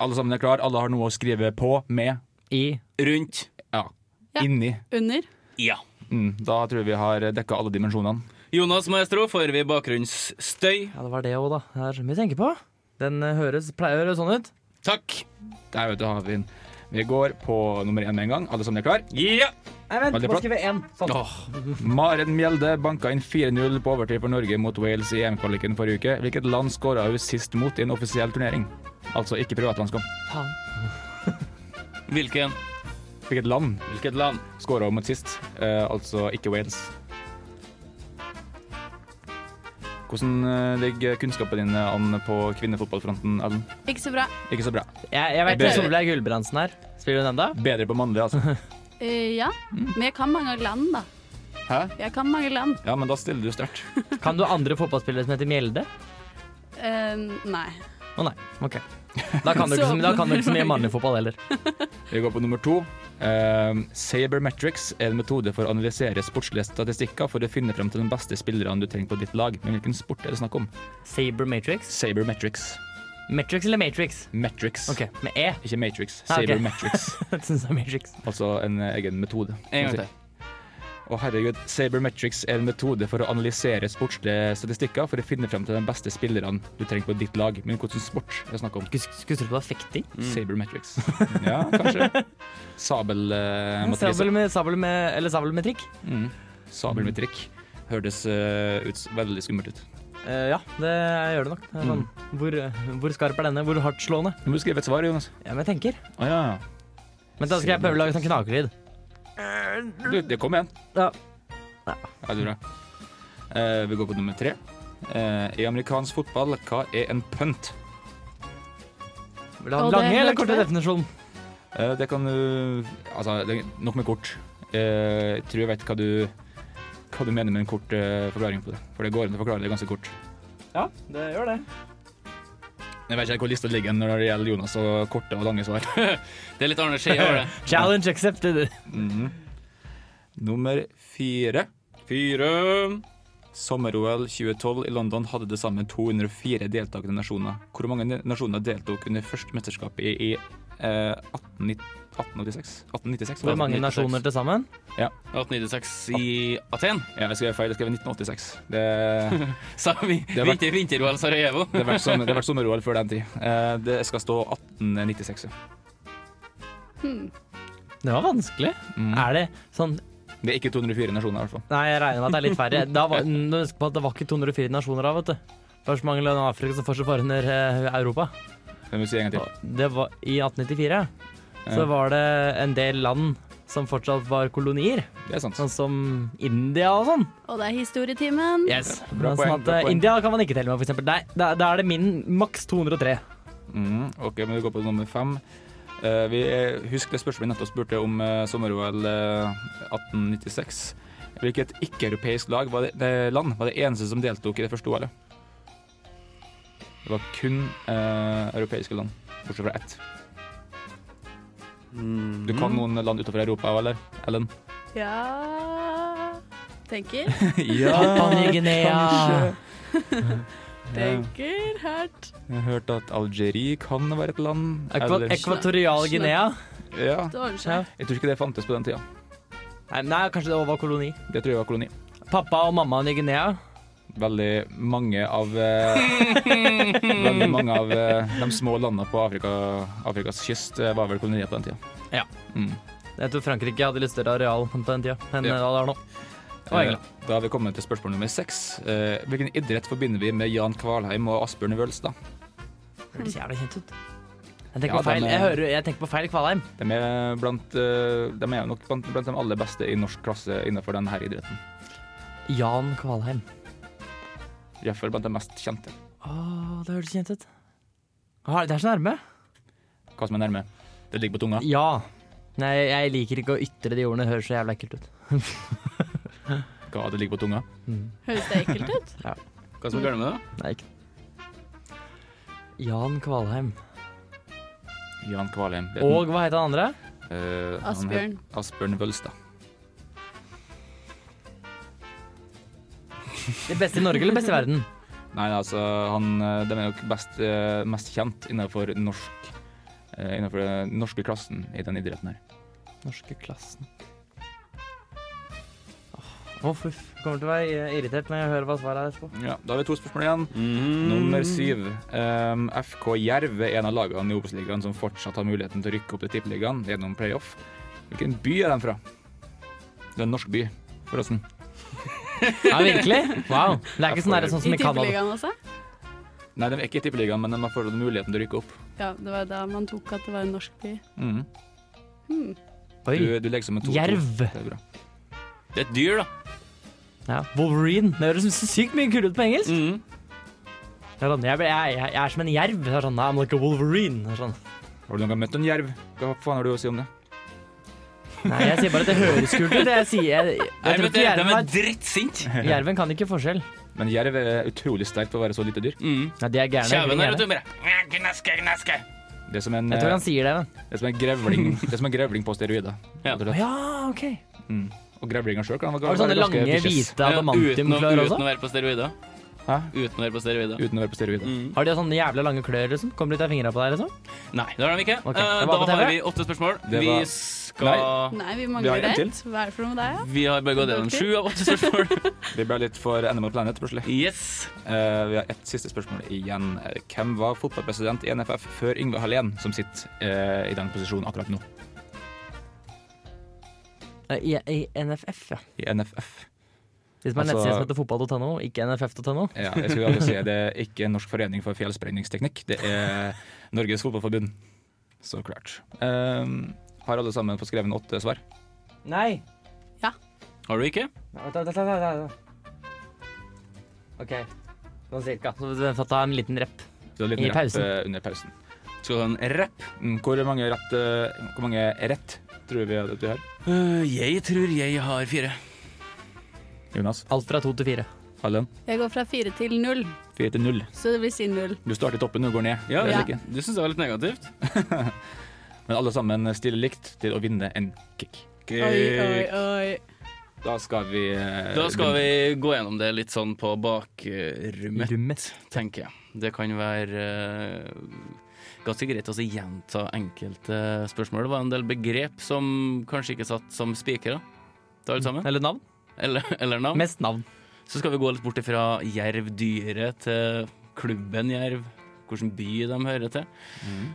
F: Alle sammen er klar, alle har noe å skrive på, med,
E: I
D: Rundt.
G: Ja.
F: inni.
G: Under.
D: Ja.
F: Mm, da tror jeg vi har dekka alle dimensjonene.
D: Jonas Maestro, får vi bakgrunnsstøy?
E: Ja, det var det òg, da. Det er så mye å tenke på. Den eh, høres, pleier å høre sånn ut.
D: Takk.
F: Der vet du har vi den. Vi går på nummer én med en gang. Alle sammen er klar?
D: Ja.
E: Nei, vent,
F: Veldig flott.
E: skrive én. Sånn.
D: Åh,
F: Maren Mjelde banka inn 4-0 på overtid for Norge mot Wales i EM-kvaliken forrige uke. Hvilket land skåra hun sist mot i en offisiell turnering? Altså ikke privatlandskamp.
E: Faen.
D: hvilken?
F: Hvilket land
D: Hvilket land?
F: skåra hun mot sist? Eh, altså ikke Wales. Hvordan eh, ligger kunnskapen din an på kvinnefotballfronten, Ellen?
G: Ikke så bra.
F: Ikke så bra.
E: Jeg, jeg vet
F: Bedre.
E: ikke Solveig Gulbrandsen her. Spiller hun ennå?
F: Bedre på mannlig, altså.
G: Eh, ja.
D: Mm.
G: Men jeg kan mange land, da.
F: Hæ?
G: Jeg kan mange land.
F: Ja, men da stiller du sterkt.
E: Kan du andre fotballspillere som heter Mjelde?
G: Eh, nei.
E: Å nei. OK. Da kan du ikke så, da kan du ikke så mye mannlig fotball heller.
F: Vi går på nummer to. Eh, Sabermetrics er en metode for å analysere sportslige statistikker for å finne frem til den beste spilleren du trenger på ditt lag. Men hvilken sport er det snakk om?
E: Saber Matrix.
F: Sabermetrics.
E: Matrix eller Matrix?
F: Metrics.
E: OK, med E.
F: Ikke Matrix.
E: Ah, ok.
F: Sabermetrics.
E: Jeg synes det er Matrix.
F: altså en eh, egen metode.
D: En gang til.
F: Å herregud, Sabermetrics er en metode for å analysere sportslige statistikker for å finne frem til den beste spilleren du trenger på ditt lag. Men hvilken sport er det snakk om?
E: Skulle- Skulle tro det var fekting.
F: Sabermetrics. ja, kanskje. Sabelmatrise.
E: Sabel med, sabel med, eller sabel med trikk.
F: Mm. Sabel med trikk. Hørtes eh, ut, veldig skummelt ut.
E: Eh, ja, det gjør det nok. Det er sånn, hvor, eh, hvor skarp er denne? Hvor hardtslående?
F: Du må skrive et svar, Jonas.
E: Ja, men jeg tenker.
F: Å ja.
E: Men da skal jeg prøve å lage sånn knakelyd.
F: Du, det kom igjen.
E: Ja.
F: Ja, det er bra. Eh, vi går på nummer tre. Eh, I amerikansk fotball, hva er en punt?
E: Vil du ha den
G: Og det
E: lange eller
G: hørte
E: korte
G: vi.
E: definisjon?
F: Eh, det kan du Altså, det er nok med kort. Eh, jeg tror jeg vet hva du hva du mener med en kort eh, forklaring på det. For det går an å forklare det ganske kort.
E: Ja, det gjør det.
F: Jeg vet ikke hvor lista ligger når det gjelder Jonas og korte og lange svar.
D: Det er litt Arne Skeie over det.
E: Challenge accepted.
F: Mhm. Nummer fire.
D: Fire.
F: Sommer-OL 2012 i London hadde til sammen 204 deltakende nasjoner. Hvor mange ne- nasjoner deltok under første mesterskap i, i eh, 18, 1886? 1896?
E: Hvor
D: 1996.
E: mange nasjoner til sammen?
D: 1896 i Aten.
F: Ja, jeg skrev feil. Jeg skrev 1986. Det, det,
D: Sa vi.
F: har vært-
D: Vinter, vinter-OL Sarajevo.
F: har vært sommer- det har vært sommer-OL før den tid. Eh, det skal stå 1896. ja.
E: Det var vanskelig.
F: Mm.
E: Er det sånn
F: Det er ikke 204 nasjoner, i hvert fall.
E: Nei, jeg regner med at det er litt færre. Da var, nå husk på at det var ikke 204 nasjoner da, vet du. Først mangler Afrika, så fortsatt bare under eh, Europa.
F: Det må vi si en gang til.
E: Det var i 1894.
F: Ja.
E: Så var det en del land som fortsatt var kolonier,
F: Det er sant.
E: sånn som India og sånn.
G: Og det er historietimen.
E: Yes.
F: Bra
E: Men
F: poeng,
E: sånn at,
F: bra
E: eh,
F: poeng.
E: India kan man ikke telle med, for eksempel. Nei, da, da er det min maks 203.
F: Mm, ok, men vi går på nummer fem. Eh, vi er, husk det spørsmålet vi nettopp spurte om eh, sommer-OL eh, 1896. Hvilket ikke-europeisk lag var det, det land var det eneste som deltok i det første OL-et? Det var kun eh, europeiske land, bortsett fra ett. Du kan noen land utenfor Europa òg, eller? Ellen?
G: Ja Tenker.
F: Ah,
E: Papua-Ny-Guinea.
G: Tenker hardt.
F: Jeg har hørt at Algerie kan være et land.
E: Ekva
F: eller-
E: Ekvatorial Guinea.
F: ja,
G: Det ordner seg.
F: jeg tror ikke det fantes på den tida.
E: Nei, nei, kanskje det var koloni.
F: Det tror jeg var koloni.
E: Pappa og mamma Ny-Guinea.
F: veldig mange av eh, Veldig mange av eh, de små landene på Afrika, Afrikas kyst eh, var vel kolonier på den tida.
E: Ja.
F: Mm.
E: Jeg tror Frankrike hadde litt større areal på den tida enn
F: Ja.
E: hva det er nå. Og
F: Eh,
E: England.
F: Da har vi kommet til spørsmål nummer seks. Eh, hvilken idrett forbinder vi med Jan Kvalheim og Asbjørn Wølstad?
E: Det høres jævlig kjent ut. Jeg tenker,
F: Ja,
E: på feil.
F: dem er-
E: Jeg, hører, jeg tenker på feil Kvalheim.
F: De er, blant, eh, de er jo nok blant, blant de aller beste i norsk klasse innenfor denne idretten.
E: Jan Kvalheim.
F: Iallfall blant de mest kjente.
E: Åh, det høres kjent ut. Åh, det er så nærme.
F: Hva som er nærme? Det ligger på tunga.
E: Ja. Nei, jeg liker ikke å ytre de ordene. Det høres så jævlig ekkelt ut.
F: Hva det ligger på tunga?
G: Høres det ekkelt ut?
D: Hva som er galt med det?
E: Nei, ikke Jan Kvalheim.
F: Jan Kvalheim. Det er den-
E: Og hva het han andre?
F: Eh, han
G: Asbjørn.
F: het Asbjørn Wølstad.
E: De beste i Norge eller beste i verden?
F: Nei, altså, han, eh, de er nok best, eh, mest kjent innenfor norsk eh, innenfor den norske klassen i den idretten her.
E: Norske klassen. Åh, oh, fuff. Kommer til å være irritert når jeg hører hva svaret er etterpå.
F: Ja, Da har vi to spørsmål igjen. Nummer syv. Ehm, FK Jerv er en av lagene i Obos-ligaen som fortsatt har muligheten til å rykke opp til Tippeligaen gjennom playoff. Hvilken by er den fra? Det er en norsk by, forresten.
E: Ja, virkelig? Wow. Det er ikke sånn, der, sånn
G: I
E: som i Canada.
G: tippeligaen også?
F: Nei, de er ikke i Tippeligaen, men de har fortsatt muligheten til å rykke opp.
G: Ja, det var da man tok at det var en norsk by.
F: Mhm.
G: Hmm.
E: Oi.
F: Du, du legger som en to-to.
E: Jerv.
F: Det er bra.
D: Det er et dyr, da.
E: Ja. Wolverine. Det høres så sykt mye kulere ut på engelsk.
D: Mhm.
E: Jeg, er sånn, jeg, ble- jeg, jeg, jeg er som en jerv. Jeg er sånn, Nei, men ikke Wolverine. Jeg er sånn.
F: Har du noen gang møtt en jerv? Hva faen har du å si om det?
E: Nei, jeg sier bare at det høres kult ut. Jeg sier, jeg,
D: Nei,
E: jeg, tror
D: vet du,
E: ikke
D: de
E: jerven,
D: er
E: har-
D: drittsinte.
E: jerven kan ikke forskjell.
F: Men jerv er utrolig sterkt på å være så lite dyr.
D: Mm.
E: Ja, de er
D: Kjeven
E: gærne.
D: her, vet
E: Jeg
D: du. Bare gnaske, gnaske.
F: Det er som en,
E: tror han sier det. Men.
F: det er som en, grevling, det er som en grevling på steroider.
D: Ja.
F: rett og slett.
E: Ja, ok.
F: Og grevlinger sjøl kan
E: Har du sånne lange, hvite
D: Ja, uten, å,
E: adamantiumklør
D: uten
E: også?
D: å være på steroider.
F: Hæ?
D: Uten å være på steroider.
F: Uten å være på steroider.
D: Mm.
E: Har de sånne jævla lange klør, liksom? Kommer de ut av fingra på deg, liksom?
D: Nei, det har de ikke.
E: Ok, det
D: Eh,
E: var
D: da
E: på TV.
D: har vi åtte spørsmål.
F: Det
D: Vi
F: var-
D: skal
G: Nei, vi
F: Vi har
G: mangler
F: en til.
G: ett. Hva er det for noe med deg, da?
D: Vi har bare gått gjennom sju av åtte spørsmål.
F: Vi ble litt for Animal Planet plutselig.
D: Mm. Yes.
F: Eh, vi har ett siste spørsmål igjen. Eh, Hvem var fotballpresident i NFF før Yngve Hallén, som sitter eh, i den posisjonen akkurat nå?
E: Eh, I, i NFF, ja.
F: I NFF.
E: De som har
F: Altså-
E: nettside som heter fotball.no, ikke nff.no.
F: Ja, jeg skulle aldri si det er ikke en Norsk forening for fjellsprengningsteknikk. Det er Norges Fotballforbund. Så klart. Ehm, har alle sammen fått skrevet åtte svar?
E: Nei.
D: Har du ikke?
E: OK. Sånn cirka. Så vi får ta en liten rep.
F: Du har en liten
E: I
F: rapp,
E: pausen.
F: eh, under pausen.
D: Skal du ha en rapp?
F: Mm, Hvor mange rett, eh, hvor mange rett tror vi at du har?
D: Eh, jeg tror jeg har fire.
F: Jonas?
E: Alt fra to til fire.
F: Hallen?
G: Jeg går fra fire til null,
F: Fire til null.
G: så det blir si null.
F: Du starter i toppen og går ned.
D: Ja,
F: Det er
G: ja.
F: ikke-
D: Du syns det var litt negativt?
F: Men alle sammen stiller likt til å vinne en kick.
G: Oi, oi, oi.
F: Da skal vi eh,
D: Da skal
F: begynne.
D: vi gå gjennom det litt sånn på bakrommet, tenker jeg. Det kan være eh, ganske greit å så gjenta enkelte spørsmål. Det var en del begrep som kanskje ikke satt som spikere, til alle sammen.
E: Eller navn?
D: Eller, eller navn.
E: Mest navn.
D: Så skal vi gå litt bort ifra jervdyret til klubben Jerv. Hvilken by de hører til.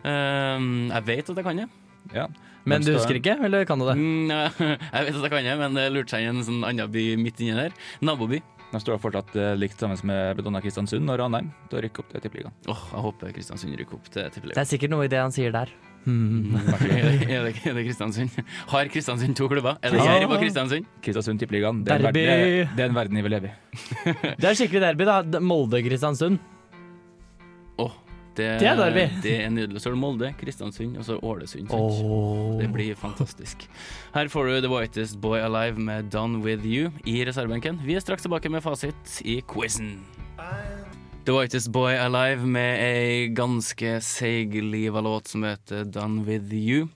D: Eh, jeg vet at jeg kan det.
F: Ja.
E: Men du
F: skal-
E: husker ikke, eller kan du det?
D: Mm, jeg vet at jeg kan det, men det lurte seg i en sånn annen by midt inni der. Naboby.
F: De står fortsatt eh, likt sammen med Bedonna Kristiansund og Ranheim. Da rykker opp til Tippeligaen.
D: Åh, jeg håper Kristiansund rykker opp til
E: Det
D: tippeligaen.
E: er sikkert noe i det han sier der.
D: er, det- er, det- er det Kristiansund? Har Kristiansund to klubber? Er det
E: Ja.
D: Jerv og Kristiansund?
F: Kristiansund Tippeligaen. Det, er en
E: Derby!
F: verden- det er en verden vi lever i.
E: Det er skikkelig derby, da. Molde-Kristiansund.
D: Åh, det,
E: Det er derby.
D: Det er nydelig. Så er det Molde, Kristiansund og så Ålesund. sant?
E: Oh.
D: Det blir fantastisk. Her får du The Whitest Boy Alive med Done With You i reservebenken. Vi er straks tilbake med fasit i quizen. The Whitest Boy Alive med ei ganske seigliva låt som heter Done With You.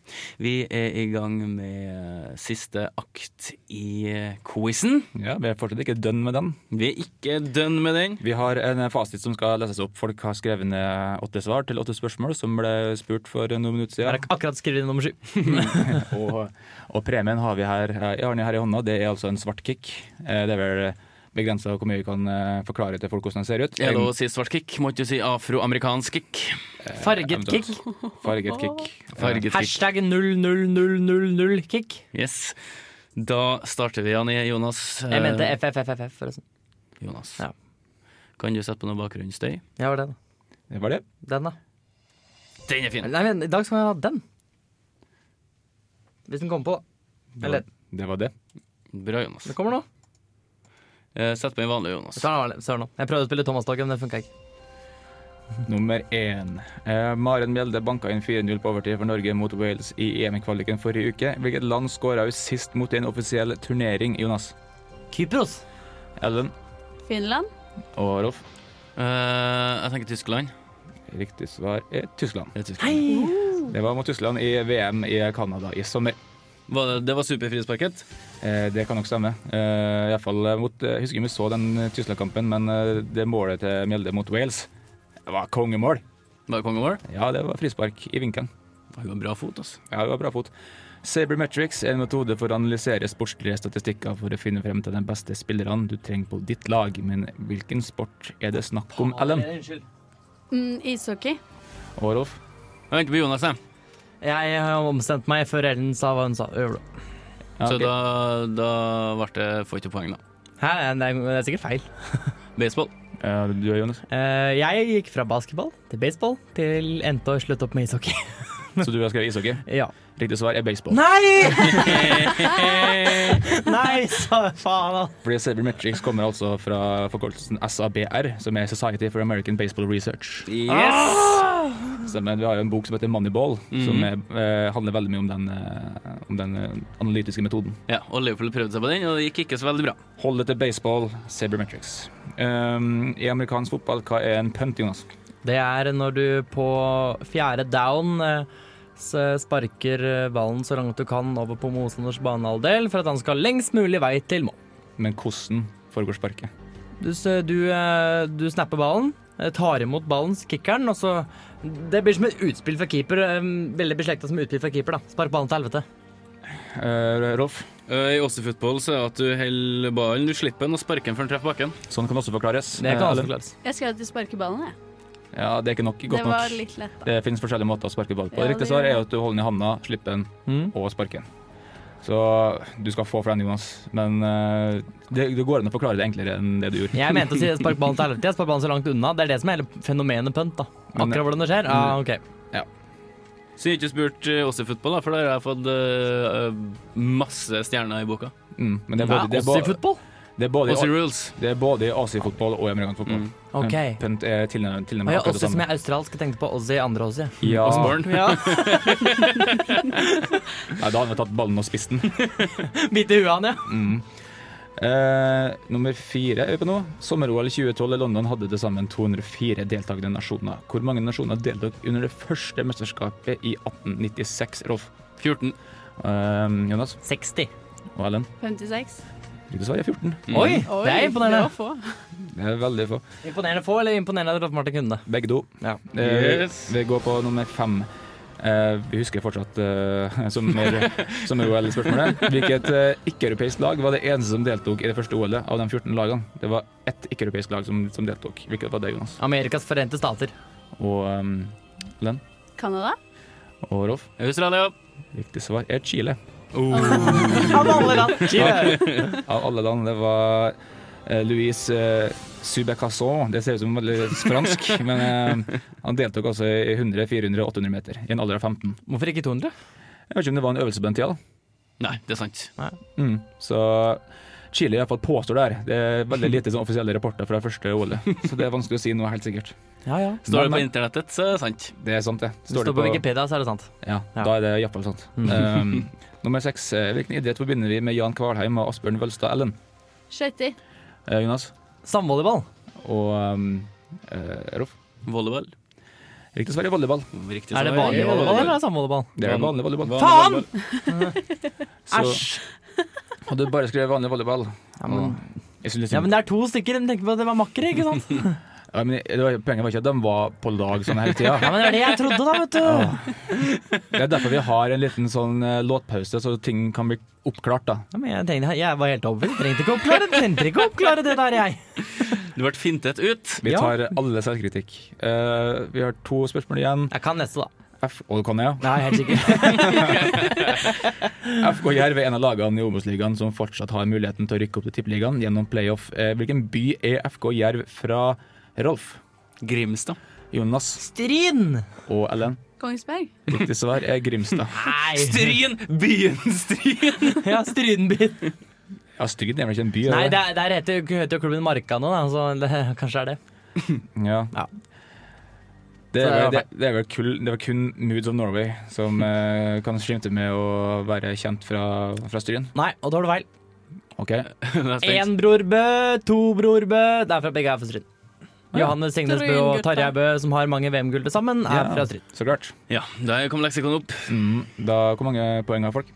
D: Vi er i gang med siste akt i quizen.
F: Ja, Vi er fortsatt ikke dønn med den.
D: Vi er ikke dønn med den.
F: Vi har en fasit som skal leses opp. Folk har skrevet ned åtte svar til åtte spørsmål som ble spurt for noen minutter
E: Jeg har
F: siden.
E: ak- akkurat skrevet inn nummer sju.
F: Og, og premien har vi her. eh, Jeg har den her i hånda. Det er altså en svart kick. Eh, Det er vel begrensa hvor mye vi kan eh, forklare til folk hvordan den ser ut.
D: Er det lov å si svart kick? Måtte jo si afroamerikansk kick.
E: Eh, Farget kick.
F: Farget kick.
D: Farget kick.
E: Hashtag 00000kick.
D: Yes. Da starter vi, Janni. Jonas.
E: Jeg mente
D: eh,
E: FFFFF, forresten.
D: Jonas.
E: Ja.
D: Kan du sette på noe bakgrunnsstøy?
E: Ja, var det da.
F: Det var det.
E: Den, da.
D: Den er fin.
E: Nei, men i dag skal jeg ha den. Hvis den kommer på.
F: Det
E: Eller
F: var det. Var det.
D: Bra, Jonas.
E: Det kommer nå.
D: Eh, Sett på en vanlig Jonas.
E: Jeg tar den vanlig. Sør nå. Jeg prøvde å spille Thomas Dogge, men det funka ikke.
F: Nummer én. Eh, Maren Mjelde banka inn 4-0 på overtid for Norge mot Wales i EM-kvaliken forrige uke. Hvilket land skåra hun sist mot en offisiell turnering, Jonas?
E: Kypros.
F: Ellen
G: Finland?
F: og Rolf.
D: Eh, jeg tenker Tyskland.
F: Riktig svar er Tyskland.
D: Det, er Tyskland.
F: Det var mot Tyskland i VM i Canada i sommer.
D: Var det, det var superfrisparket.
F: Eh, Det kan nok stemme. Eh, i hvert fall mot, jeg husker ikke om vi så den Tyskland-kampen, men eh, det målet til Mjelde mot Wales det var kongemål.
D: Var det kongemål?
F: Ja, det var frispark i vinkelen.
D: Hun har bra fot, altså.
F: Ja, det var bra fot. Sabermetrics er en metode for å analysere sportslige statistikker for å finne frem til de beste spillerne du trenger på ditt lag. Men hvilken sport er det snakk om, Ellen?
G: Mm, ishockey.
F: Og Rolf?
D: Jeg venter på Jonas, jeg.
E: Jeg eh, omstemte meg før Ellen sa hva hun sa. Øvla.
F: Ja,
D: Så
F: ok.
D: da, da ble det Får ikke poeng, da.
E: Hæ, det er, det er sikkert feil.
D: Baseball.
F: Ja, Du er Jonas,
E: Eh, jeg gikk fra basketball til baseball til endte å slutte opp med ishockey.
F: så du har skrevet ishockey?
E: ja.
F: Riktig svar er baseball.
E: Nei! Nei, sa faen. altså.
F: Fordi Sabermetrics kommer altså fra forkortelsen SABR, som er Society for American Baseball Research. Ah!
D: Yes!
F: Stemmer. Vi har jo en bok som heter Moneyball, som er, eh, handler veldig mye om den, eh, om den eh, analytiske metoden.
D: Ja, og Liverpool prøvde seg på den, og det gikk ikke så veldig bra.
F: Hold det til baseball, sabermetrics. Um, I amerikansk fotball, hva er en punt, Jonas?
E: Det er når du på fjerde down eh, s- sparker eh, ballen så langt du kan over på motstanders banehalvdel for at han skal lengst mulig vei til mål.
F: Men hvordan foregår sparket?
E: Du, s- du, eh, du snapper ballen, eh, tar imot ballen, kicker den, og så Det blir som et utspill for keeper. eh, Veldig beslekta som utspill for keeper, da. Spark ballen til helvete.
F: Eh, Rolf,
D: I Åse-fotball så er det at du holder ballen, du slipper den og sparker den før den treffer bakken.
F: sånn kan også forklares.
E: Det kan
F: Eh,
E: også
F: Ellen?
E: forklares.
G: Jeg skrev at de sparker ballen, jeg.
F: Ja, det er ikke nok, godt
G: Det var
F: nok.
G: litt lett, da.
F: Det finnes forskjellige måter å sparke ball på.
G: Ja,
F: Riktig
G: det
F: svar
G: gjør
F: er jo at du holder den i handa, slipper den
E: Mm.
F: og sparker den. Så du skal få for den, Jonas. Men eh, det, det går an å forklare det enklere enn det du gjorde.
E: Jeg mente å si spark ballen til helvete. Jeg sparker ballen så langt unna. Det er det som er hele fenomenet punt. da.
F: Men- mm.
E: Akkurat hvordan det skjer. Ah, ok.
D: Så jeg har ikke spurt eh, oss i fotball, da, for der har jeg fått eh, eh, masse stjerner i boka.
F: Mm, men det er
E: Ja,
F: både, det er
E: også i
F: bo-
E: fotball.
F: det er både,
D: Oss i rules.
F: det er både i Asi-fotball og i amerikansk fotball.
D: Mm.
E: Ok.
F: Men Punt er tilnærmet
E: Og
F: tilnærmet
E: jeg,
F: akkurat
E: også
F: det
E: som
F: samme.
E: jeg er australsk, jeg tenkte på Ozzy andre Ozzy.
F: Ja,
D: Oss barn.
E: Ah. Ja.
F: Nei, da hadde vi tatt ballen og spist den.
E: Bite i huet han, ja.
F: Mm. Eh, nummer fire er vi på nå. Sommer-OL 2012 i London hadde til sammen 204 deltakende nasjoner. Hvor mange nasjoner deltok under det første mesterskapet i 1896, Rolf?
D: 14.
F: Eh, Jonas
E: 60.
F: og Ellen?
G: 56.
F: Riktig svar er 14.
E: Oi,
G: Oi,
E: det er imponerende.
G: Det var få.
F: Mm. Det er veldig få.
E: Imponerende få, eller imponerende at Rolf Martin kunne det?
F: Begge to.
E: Ja.
F: Eh,
D: Yes.
F: Vi går på nummer fem. Eh, vi husker fortsatt eh, som mer- som OL-spørsmålet. Hvilket eh, ikke-europeisk lag var det eneste som deltok i det første OL-et av de 14 lagene? Det var ett ikke-europeisk lag som, som deltok. Hvilket var det, Jonas?
E: Amerikas forente stater.
F: Og ehm,
G: Canada?
F: Og Rolf,
D: Australia.
F: riktig svar er Chile.
E: Av alle land! Oh. Chile.
F: Av alle land, det var eh, Luis eh, Subacasson. Det ser ut som veldig fransk, men eh, han deltok altså i 100, 400 og 800 meter i en alder av 15.
E: Hvorfor ikke 200?
F: Jeg vet ikke om det var en øvelse på den tida. da.
D: Nei, det er sant.
F: Mm. Så Chile i hvert fall påstår det her. Det er veldig lite sånn offisielle rapporter fra første OL, så det er vanskelig å si noe helt sikkert.
E: Ja, ja.
D: Står det
F: Men,
D: på
F: eh,
D: internettet, så er det sant.
F: Det er sant, det.
E: Hvis det står på Wikipedia, så er det sant.
F: Ja,
E: Ja. Mm.
F: da er det iallfall sant. Um, nummer seks. eh, Hvilken idrett forbinder vi med Jan Kvalheim og Asbjørn Vølstad Ellen?
G: Skøyter.
F: Eh, Jonas?
E: Samvolleyball.
F: og um, eh, Rolf.
D: Volleyball.
F: Riktig svar er volleyball.
D: Riktig
E: Er det
D: svar.
E: vanlig volleyball, eller er det samvolleyball?
F: Det er vanlig volleyball.
E: Faen!
F: Så hadde du bare skrevet vanlig volleyball
E: Ja, men,
F: jeg synes
E: ja,
F: liksom,
E: men det er to stykker. De tenker på at det var makkere, ikke sant?
F: ja, men det var, Poenget var ikke at de var på lag sånn hele tida.
E: Ja, men det var det jeg trodde, da, vet du.
F: Det er derfor vi har en liten sånn eh, låtpause, så ting kan bli oppklart. da
E: Ja, men jeg, tenkte, jeg var helt overbevist. Trengte ikke oppklare, trengte ikke oppklare det der, jeg.
D: Du ble fintet ut.
F: Vi
E: Ja.
F: tar alle selvkritikk. Eh, vi har to spørsmål igjen.
E: Jeg kan neste, da.
F: F og kan jeg,
E: Nei, helt sikkert.
F: ja. FK Jerv er en av lagene i Obos-ligaen som fortsatt har muligheten til å rykke opp til Tippeligaen gjennom playoff. Eh, hvilken by er FK Jerv fra Rolf,
D: Grimstad.
F: Jonas
E: Strin!
F: og Ellen?
G: Kongsberg.
F: Riktig svar er Grimstad.
E: Nei.
D: Stryn! Byen Stryn!
E: Ja, Strynbyen.
F: Ja, Stryn er vel ikke en by? er
E: Nei,
F: det?
E: der, der heter, jo- heter jo klubben Marka nå, da, så det, kanskje er det.
F: Ja.
E: Ja.
F: Det,
E: Så det
F: er,
E: var
F: det, det, er vel kul, det var kun Moods of Norway som eh, kan skimte med å være kjent fra, fra Stryn.
E: Nei, og da har du feil.
F: Ok,
E: Én Bror Bø, to Bror Bø. Det er fra begge er fra Stryn. Johannes Signes Bø og
G: Stryn-gutta.
E: Tarjei Bø, som har mange VM-gull til sammen, er
F: Ja.
E: fra Stryn.
F: så klart.
D: Ja, der kom leksikon opp.
F: Mm, da, hvor mange poeng har folk?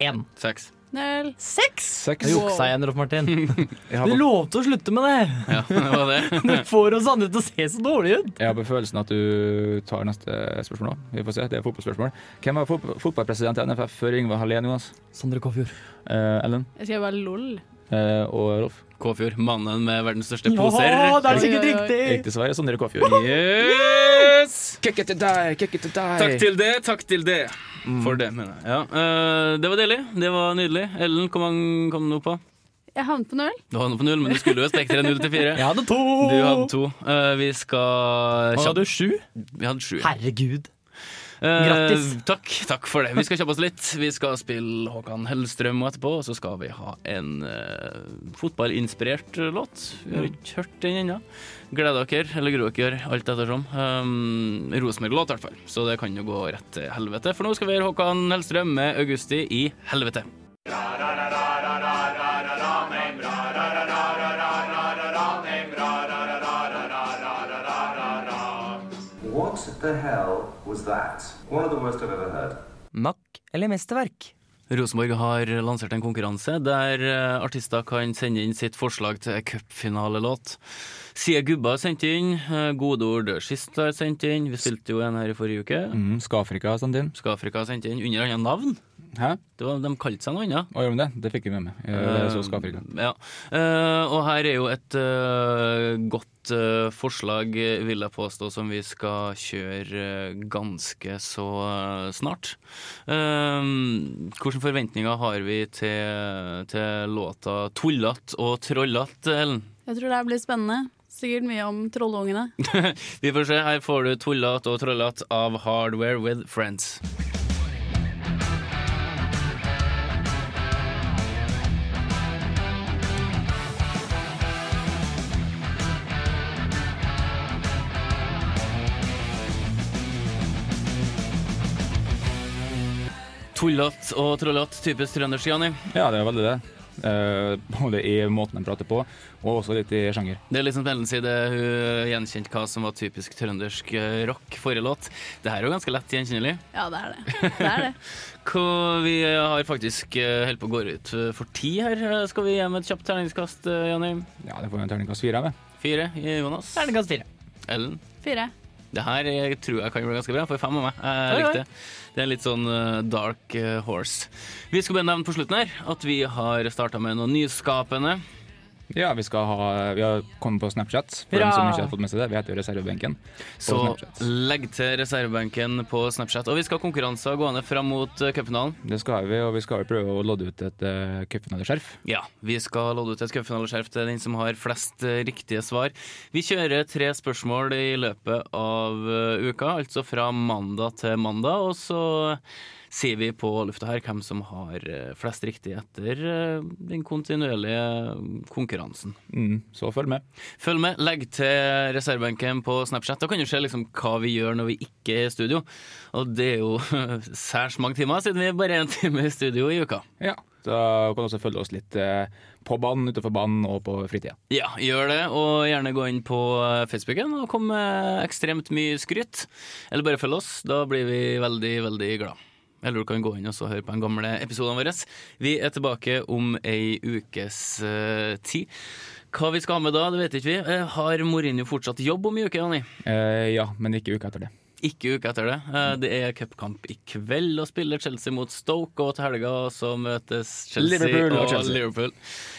E: Én.
D: Seks.
G: Null.
E: Seks!
F: Seks.
E: Jeg juksa igjen, Rolf Martin.
F: Jeg
E: Du
F: har, på,
E: lovte å slutte med det!
D: Ja, det var det.
E: Du får oss andre til å se så dårlige ut!
F: jeg har på følelsen at du tar neste spørsmål òg. Vi får se. Det er fotballspørsmål. Hvem var fot fotballpresident i NFF før Yngve Hallén, Jonas?
E: Sondre Kåfjord.
F: Eh, Ellen
G: Jeg skrev bare lol.
F: eh, og Rolf?
D: Kåfjord, mannen med verdens største poser.
E: Ja, det er sikkert
G: Oi, oi, oi.
E: riktig!
F: Riktig svar er Sondre Kåfjord.
D: Yes!
F: Kick it to die, kick it to die. Mm.
D: Takk til det, takk til det. For det, mener jeg. Ja. eh, det var deilig. Det var nydelig. Ellen, hvor mange kom du opp på?
G: Jeg havnet på null.
D: Du havnet på null, men du skulle jo et spekter av null til fire.
E: Jeg hadde to!
D: Du hadde to. Eh, vi skal
E: Han hadde sju.
D: Vi hadde sju.
E: Herregud.
D: Eh,
E: Grattis.
D: takk, takk for det. Vi skal kjappe oss litt. Vi skal spille Håkan Hellstrøm og etterpå, og så skal vi ha en eh, fotballinspirert eh, låt. Vi har ikke hørt den ennå. Gleder dere, eller gruer dere, alt ettersom. Um, Rosenborg-låt, i hvert fall. Så det kan jo gå rett til helvete. For nå skal vi høre Håkan Hellstrøm med Augusti i helvete.
J: What the hell was that? One of the worst I've ever heard.
E: Mack eller mesterverk?
D: Rosenborg har lansert en konkurranse der eh, artister kan sende inn sitt forslag til cupfinalelåt. Sia Gubba har sendt inn, eh, Gode ord dør sist har sendt inn, vi spilte jo en her i forrige uke.
F: Mm, Skafrika, Sandin.
D: Skafrika har sendt inn under annet navn.
F: Hæ?
D: Det var, de kalte seg noe annet.
F: Å, gjorde de det? Det fikk vi med meg. Jeg så Skafrika.
D: Eh, ja. Eh, og her er jo et eh, godt eh, forslag, eh, vil jeg påstå, som vi skal kjøre eh, ganske så eh, snart. Eh, hvilke forventninger har vi til, til låta 'Tullat og trollat', Ellen?
G: Jeg tror det her blir spennende. Sikkert mye om trollungene.
D: Vi får se. Her får du 'Tullat og trollat' av Hardware with Friends. Tullat og trollat, typisk trøndersk, Jani.
F: Ja, det er veldig det. Eh, både i måten de prater på, og også litt i sjanger.
D: Det er liksom Ellen side hun gjenkjente hva som var typisk trøndersk eh, rock forrige låt. Det her er jo ganske lett gjenkjennelig.
G: Ja, det er det. Det er det.
D: Hva, vi har faktisk eh, holdt på å gå ut for ti her. Eh, Skal vi hjem med et kjapt terningskast, eh, Janni?
F: Ja, det får vi en terningkast fire av. jeg.
D: Fire, eh, Jonas.
E: Terningkast fire.
D: Ellen.
G: Fire.
D: Det her eh, tror jeg kan bli ganske bra, for fem av meg. Eh, Jeg
E: Oi, oi.
D: likte det. Det er litt sånn eh, dark eh, horse. Vi skal bare nevne på slutten her at vi har starta med noe nyskapende.
F: Ja, vi, skal ha, vi har kommet på Snapchat. For
E: Hurra!
F: dem som ikke har fått med seg det, Vi heter jo Reservebenken.
D: Så
F: Snapchat.
D: legg til reservebenken på Snapchat. Og vi skal ha konkurranser gående fram mot eh, cupfinalen.
F: Det skal vi, og vi skal jo prøve å lodde ut et uh, cupfinaleskjerf.
D: Ja, vi skal lodde ut et cupfinaleskjerf til den som har flest eh, riktige svar. Vi kjører tre spørsmål i løpet av eh, uka, altså fra mandag til mandag. Og så sier vi på lufta her hvem som har eh, flest riktig etter eh, den kontinuerlige eh, konkurransen.
F: Mm, så følg med.
D: Følg med, legg til reservebenken på Snapchat. Da kan du se liksom hva vi gjør når vi ikke er i studio. Og det er jo særs mange timer, siden vi er bare én time i studio i uka.
F: Ja, Da kan du også følge oss litt eh, på banen, utenfor banen og på fritida.
D: Ja, gjør det, og gjerne gå inn på eh, Facebooken og kom med ekstremt mye skryt. Eller bare følg oss, da blir vi veldig, veldig glad. Eller du kan gå inn og så høre på den gamle episoden vår. Vi er tilbake om ei ukes eh, tid. Hva vi skal ha med da, det vet ikke vi. Eh, Har Mourinho fortsatt jobb om ei uke, Jani?
F: Eh, ja, men ikke uka etter det.
D: Ikke uka etter det.
F: Mm.
D: Eh, Det er cupkamp i kveld, og spiller Chelsea mot Stoke. Og til helga så møtes Chelsea
F: Liverpool og
D: og,
F: Chelsea.
D: Liverpool.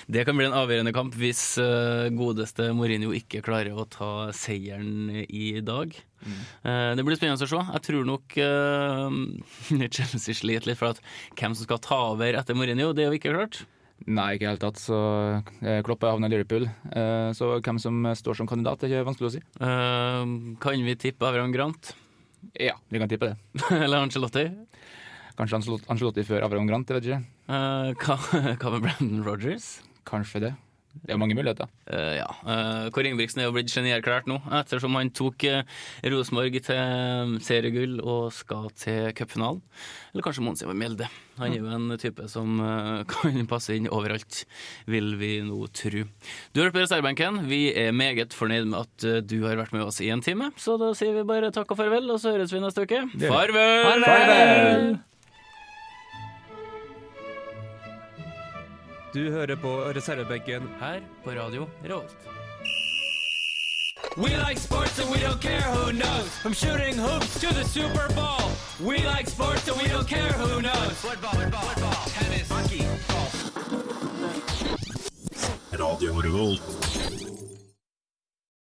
D: Det kan bli en avgjørende kamp hvis eh, godeste Mourinho ikke klarer å ta seieren i dag.
F: Mm.
D: Eh, Det blir spennende å se. Jeg tror nok eh, Chelsea sliter litt for at hvem som skal ta over etter Mourinho, det er jo ikke klart.
F: Nei, ikke i det hele tatt. Så eh, Kloppe havna i Liverpool. Eh, så hvem som står som kandidat, det er ikke vanskelig å si.
D: Eh, Kan vi tippe Avram Grant
F: Ja, vi kan tippe det.
D: eller Angelotti?
F: Kanskje Ancelot- Ancelotti før Avram Grant, jeg vet ikke.
D: Eh, Hva hva med Brandon Rogers?
F: Kanskje det. Det er mange muligheter.
D: Eh, ja. Eh, Kåre Ingebrigtsen er jo blitt genierklært nå, ettersom han tok eh, Rosenborg til eh, seriegull og skal til cupfinalen. Eller kanskje Mons Ivar Mjelde. Han er jo en type som eh, kan passe inn overalt, vil vi nå tru. Du har hørt på reservebenken. Vi er meget fornøyd med at eh, du har vært med oss i en time, så da sier vi bare takk og farvel, og så høres vi neste uke.
F: gjør vi.
D: Farvel!
E: Farvel!
F: Du hører på reservebenken.
D: her på Radio Revolt.
K: We like sports and we don't care who knows. From shooting hoops to the Super Bowl. We like sports and we don't care who knows. Football, football, football, tennis, hockey, golf.
L: Radio Revolt.